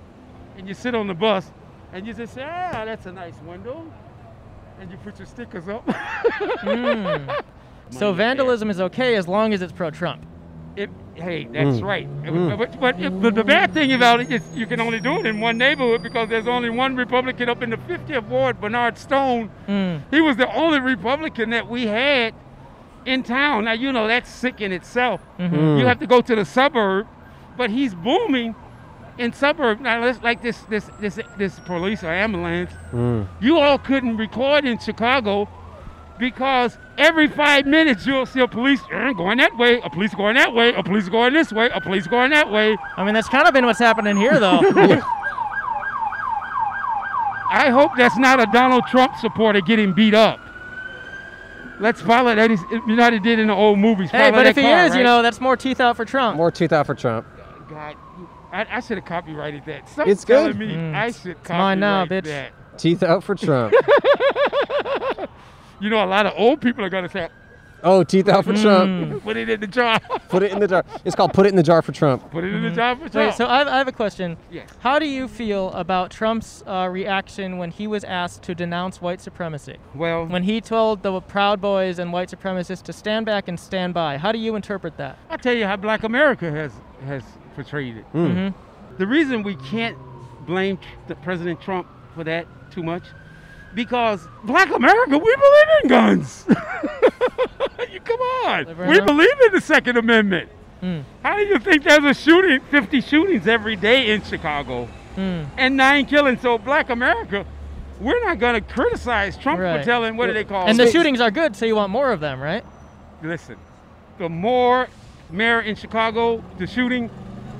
And you sit on the bus and you just say, ah, that's a nice window. And you put your stickers up. Mm. So Money vandalism is okay as long as it's pro-Trump. It, hey, that's Mm. right. It was- But, but, if- but the bad thing about it is you can only do it in one neighborhood because there's only one Republican up in the 50th ward, Bernard Stone. Mm. He was the only Republican that we had in town. Now, you know, that's sick in itself. You have to go to the suburb, but he's booming in suburb. Now, let's, like this, this, this, this police or ambulance, Mm. you all couldn't record in Chicago because every five minutes you'll see a police "Eh, going that way, a police going that way, a police going this way, a police going that way. I mean, that's kind of been what's happening here, though. I hope that's not a Donald Trump supporter getting beat up. Let's follow that. He's- You know how they did in the old movies. hey, follow but that if he car, is, you right? know, that's more teeth out for Trump. More tooth out for Trump. God, I, I should have copyrighted that. Stop It's telling good. me Mm. I should copyright mine now, bitch. that. Teeth out for Trump. You know, a lot of old people are gonna say, Oh, teeth out for Trump. "Put it in the jar. Put it in the jar. It's called Put It in the Jar for Trump. Put it in the jar for Mm-hmm. Wait, Trump." so I, I have a question. Yes. How do you feel about Trump's uh, reaction when he was asked to denounce white supremacy? well, When he told the Proud Boys and white supremacists to stand back and stand by, how do you interpret that? I tell you how Black America has has portrayed it. Mm-hmm. Mm. The reason we can't blame Tr- the President Trump for that too much, because Black America, we believe in guns. you come on, Liberal we enough? believe in the Second Amendment. Mm. How do you think there's a shooting, 50 shootings every day in Chicago? Mm. and nine killings. So black America, we're not gonna criticize Trump Right. for telling what do Oh, they call And the it? shootings are good, so you want more of them, right? Listen, the more mayor in Chicago, the shooting,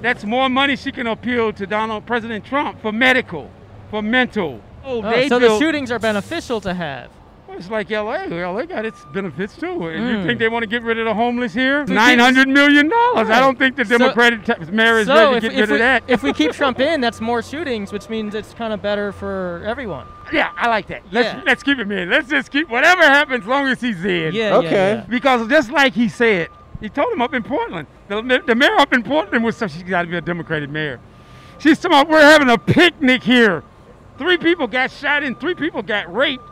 that's more money she can appeal to Donald President Trump for medical, for mental. Oh, Oh, they so the built- shootings are beneficial to have. Well, It's like LA. LA got its benefits too. And Mm. you think they want to get rid of the homeless here? So Nine hundred million dollars. Right. I don't think the So- Democratic ta- mayor is so ready to if, get if rid we, of that. if we keep Trump in, that's more shootings, which means it's kind of better for everyone. yeah, I like that. Let's Yeah. let's keep him in. Let's just keep whatever happens, long as he's in. Yeah, Okay. yeah, yeah. Because just like he said, he told him up in Portland, the, ma- the mayor up in Portland was, she got to be a Democratic mayor. She's talking about, we're having a picnic here. Three people got shot and three people got raped.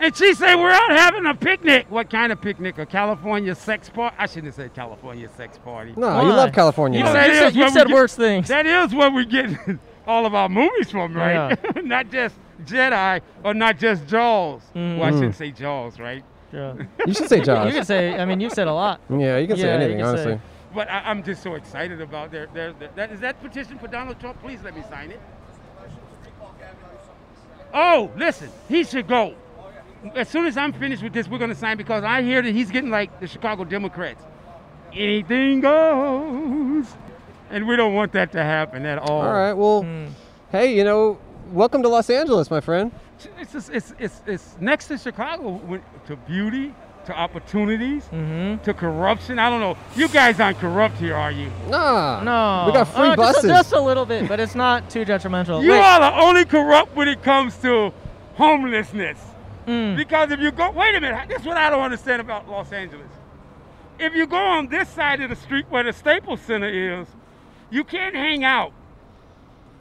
And she said, we're out having a picnic. What kind of picnic? A California sex party? I shouldn't have said California sex party. No, you Why? love California. You man. say- You That said, is you what we said do- worse things. That is where we get all of our movies from, right? not just Jedi or not just Jaws. Well, I Mm-hmm. shouldn't say Jaws, right? Yeah. you should say You Jaws. can say, I mean, you've said a lot. Yeah, you can say Yeah, you anything, can say- honestly. But I, I'm just so excited about their, their, their that is that petition for Donald Trump. Please let me sign it. Oh, listen, he should go. As soon as I'm finished with this, we're gonna sign because I hear that he's getting like the Chicago Democrats. Anything goes, and we don't want that to happen at all. All right, well, Hmm. hey, you know, welcome to Los Angeles, my friend. It's just, it's, it's it's next to Chicago when- to beauty, to opportunities, to corruption. I don't know. You guys aren't corrupt here, are you? Nah. No. We got free Oh, just buses. a- Just, a little bit, but it's not too detrimental. You Wait, are the only corrupt when it comes to homelessness. Because if you go, wait a minute, this is what I don't understand about Los Angeles. If you go on this side of the street where the Staples Center is, you can't hang out.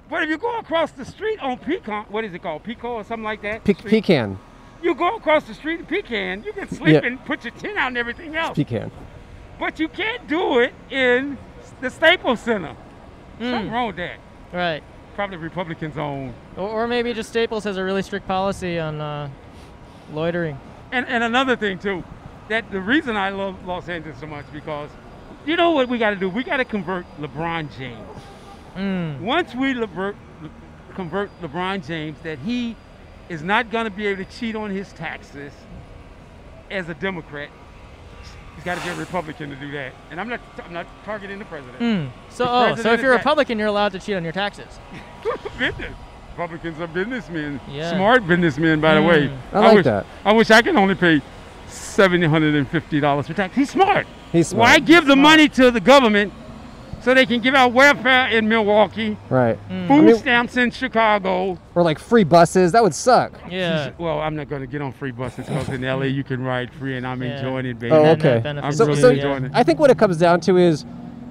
But if you go across the street on Pecan, what is it called? Pico or something like that? Pe- street? pecan. You go across the street in Pecan, you can sleep Yeah. and put your tent out and everything Oh. else. Pecan. But you can't do it in the Staples Center. Something wrong with that. Right. Probably Republicans own. Or, or maybe just Staples has a really strict policy on uh, loitering. And, and another thing too, that the reason I love Los Angeles so much because you know what we got to do? We got to convert LeBron James. Mm. Once we LeBron, convert LeBron James that he is not going to be able to cheat on his taxes as a Democrat. He's got to be a Republican to do that. And I'm not, I'm not targeting the president. So, The oh, so president if you're a is back. Republican, you're allowed to cheat on your taxes. business. Republicans are businessmen. Yeah. Smart businessmen, by the way. Mm. I like wish, that. I wish I could only pay seven hundred and fifty dollars for tax. He's smart. He's smart. Why give the money to the government so they can give out welfare in Mm. Milwaukee, Right. Hmm. food I mean- stamps in Chicago? Or like free buses. That would suck. Yeah. Well, I'm not going to get on free buses because in LA you can ride free, and I'm Yeah. enjoying it, baby. Oh, that okay. benefits So, you, so yeah. I think what it comes down to is,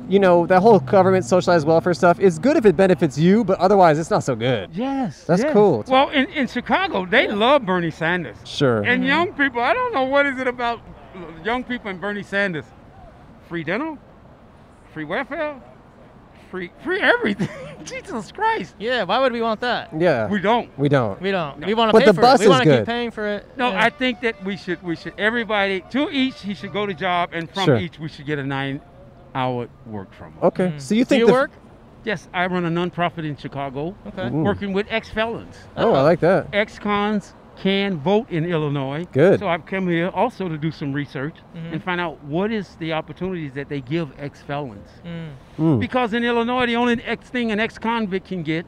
you know, that whole government socialized welfare stuff is good if it benefits you, but otherwise it's not so good. Yes. That's yes. cool. Well, in, in Chicago, they love Bernie Sanders. Sure. Mm-hmm. And young people, I don't know what is it about young people and Bernie Sanders. Free dental, free welfare, free free everything. Jesus Christ. Yeah. Why would we want that? yeah. We We, don't. don't. We don't. We want to But pay the for bus it. We is want to good. keep paying for it. No, yeah. I think that we should we should everybody to each he should go to job and from Sure. each we should get a nine hour work from Oh. home. okay. So Hmm. you Do think you the, work? Yes, I run a nonprofit in Chicago Okay. Mm. working with ex felons. Oh, I like that. Ex cons can vote in Illinois. Good. So I've come here also to do some research and find out what is the opportunities that they give ex felons. Mm. Mm. Because in Illinois, the only ex thing an ex convict can get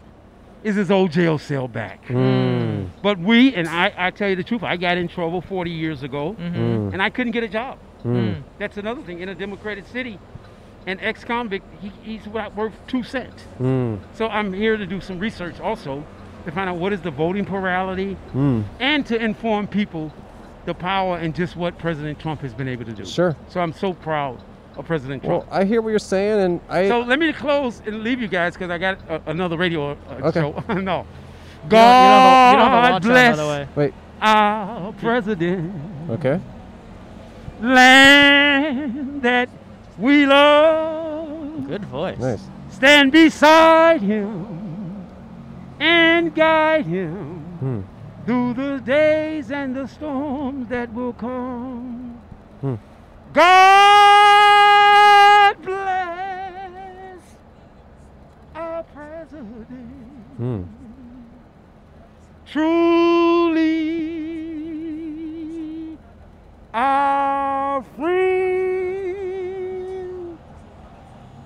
is his old jail cell back. Mm. But we, and I, I tell you the truth, I got in trouble 40 years ago Mm. and I couldn't get a job. Mm. That's another thing. In a democratic city, an ex convict, he, he's not worth two cents. Mm. So I'm here to do some research also to find out what is the voting plurality Mm. and to inform people the power and just what President Trump has been able to do. Sure. So I'm so proud of President Trump. Well, I hear what you're saying, and I. So let me close and leave you guys because I got uh, another radio uh, Okay. show. no. You don't, you don't have a, you don't have a God watch on, bless by the way. wait. our president, Okay. land that we love. Good voice. Nice. Stand beside him and guide him Hmm. through the days and the storms that will come. Hmm. God bless our president. Mm. truly our friend.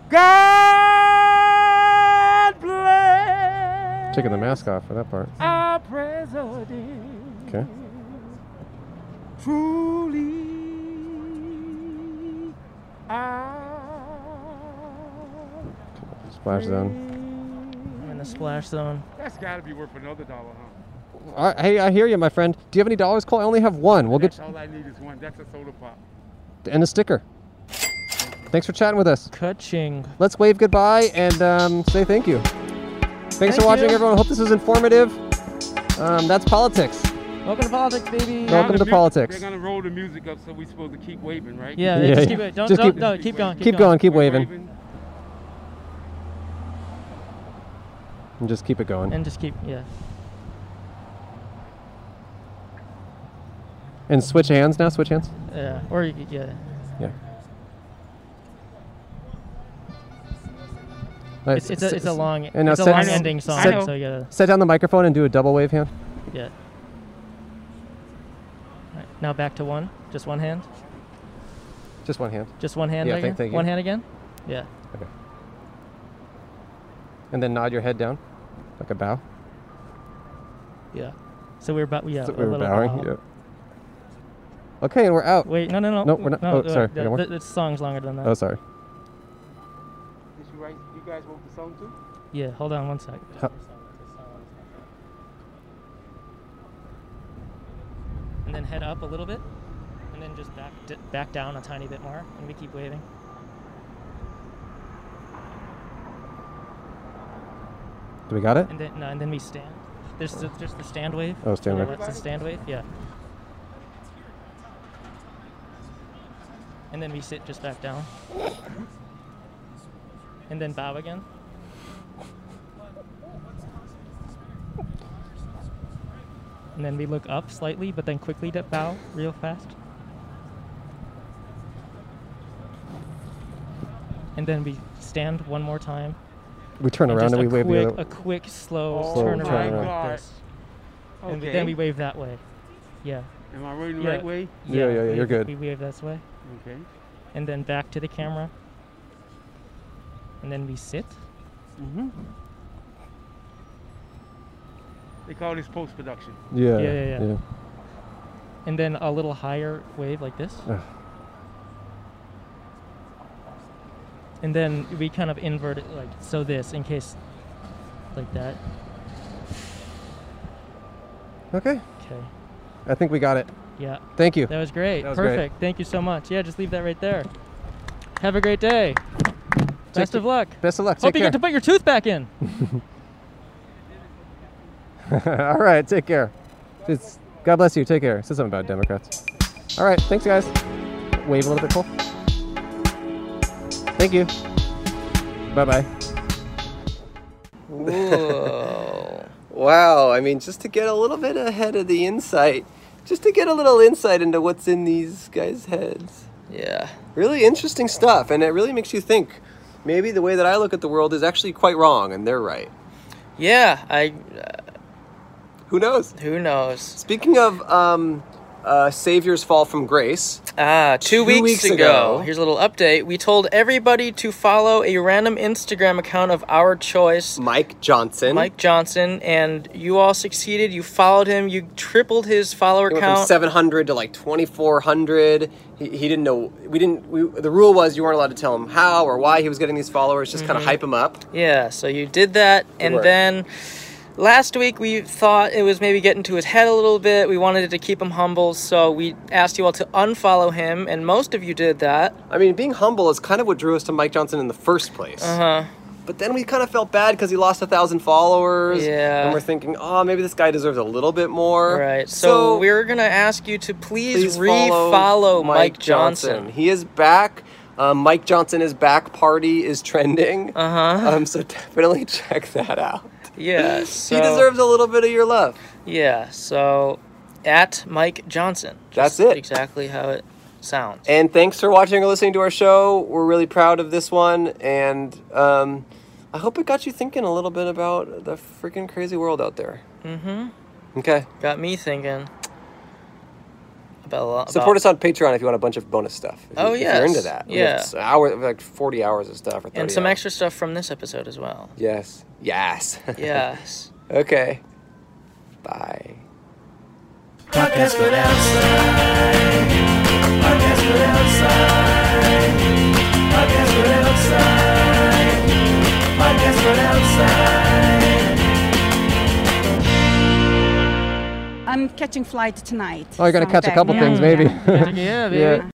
God bless Taking the mask off for that part. our president. Okay. Truly our Splash zone. I'm friend. in the splash zone. That's got to be worth another dollar, huh? All right, hey, I hear you, my friend. Do you have any dollars, Cole? I only have one. We'll get That's all I need is one. That's a soda pop. and a sticker. Thanks for chatting with us. Kaching. Let's wave goodbye and um, say thank you. Thanks Thank for watching, you. everyone. Hope this was informative. Um, that's politics. Welcome to politics, baby. No. Welcome Now the to mu- politics. They're gonna roll the music up, so we supposed to keep waving, right? Yeah, Yeah, yeah, just yeah. keep it. Don't, Just don't, keep- no, keep going. Keep Keep, Keep going. Keep We're waving. And just keep it going. And just keep, yeah. And switch hands now. Switch hands. Yeah. Or you could, yeah. Yeah. It's, it's, a, it's a long, And now it's a set- long set- ending song. set- so you gotta, Set down the microphone and do a double wave hand. yeah. Right, now back to one. Just one hand. Just one hand. Just one hand Yeah, again. thank- thank you. One hand again. Yeah. Okay. And then nod your head down, like a bow. Yeah. So we were about, yeah. That's what a we were little bowing. bow. yeah. Okay, and we're out. Wait, no, no, no. No, we're not- oh, uh, sorry, we The, got more? the, the song's longer than that. Oh, sorry. Did you write? You guys wrote the song too? yeah, hold on one sec. Huh. And then head up a little bit, and then just back d- back down a tiny bit more, and we keep waving. Do we got it? And then no, and then we stand. There's the, just the stand wave. Oh, stand wave. That's the stand wave. Yeah. And then we sit just back down. And then bow again. And then we look up slightly, but then quickly dip bow real fast. And then we stand one more time. we turn around just and we a wave quick, the other. a quick, slow, Oh turn my around. like God. this. And Okay. Oh, then we wave that way. Yeah. Am I reading the Yeah. right way? Yeah, yeah, yeah, we- you're good. We wave this way, Okay. and then back to the camera, and then we sit. Mm-hmm. They call this post production. yeah, yeah, yeah, yeah. and then a little higher wave like this. Ugh. And then we kind of invert it like so this in case like that. Okay, Okay. I think we got it. Yeah. Thank you. That was great. That was great. Perfect. Thank you so much. Yeah, just leave that right there. Have a great day. Best Take- of luck. Best of luck. Take Hope you care. get to put your tooth back in. All right, take care. It's, God bless you. Take care. Say something about Democrats. All right, thanks, guys. Wave a little bit, Cole. Thank you. Bye bye. Whoa. wow. I mean, just to get a little bit ahead of the insight, just to get a little insight into what's in these guys' heads. Yeah. Really interesting stuff, and it really makes you think maybe the way that I look at the world is actually quite wrong and they're right. Yeah, I. Who knows? Who knows? Speaking of um, uh, Savior's Fall from Grace, Ah, two, Two weeks, weeks ago, ago. Here's a little update. We told everybody to follow a random Instagram account of our choice. Mike Johnson. Mike Johnson, and you all succeeded. You followed him. You tripled his follower It went from count. 700 to like 2400 he, he didn't know we didn't we, the rule was you weren't allowed to tell him how or why he was getting these followers just Mm-hmm. kind of hype him up Yeah, so you did that, and work. then last week we thought it was maybe getting to his head a little bit. We wanted to keep him humble, so we asked you all to unfollow him, and most of you did that. i mean being humble is kind of what drew us to mike johnson in the first place Uh, but then we kind of felt bad because he lost a thousand followers Yeah. and we're thinking oh maybe this guy deserves a little bit more right. So, we're gonna ask you to please, re-follow Mike, Johnson. He is back. Um, Mike Johnson is back. Party is trending. Uh Uh-huh. huh. Um, so definitely check that out. Yeah. So, he deserves a little bit of your love. Yeah. So at Mike Johnson. That's Just it. Exactly how it sounds. And thanks for watching or listening to our show. We're really proud of this one, and um, I hope it got you thinking a little bit about the freaking crazy world out there. Mm-hmm. Okay. Got me thinking about a lot. about- Support us on Patreon if you want a bunch of bonus stuff. If you- Oh, if you're into yes. that. Yeah. it's hour like forty hours of stuff or 30 and some hours. extra stuff from this episode as well. Yes. Yes. Yes. okay. Bye. Podcast for the outside. Podcast for the outside. Podcast for the outside. Podcast for the outside. I'm catching flight tonight. Oh, you're gonna so I'm catch a back couple Oh, now. things, maybe. Yeah. yeah, baby.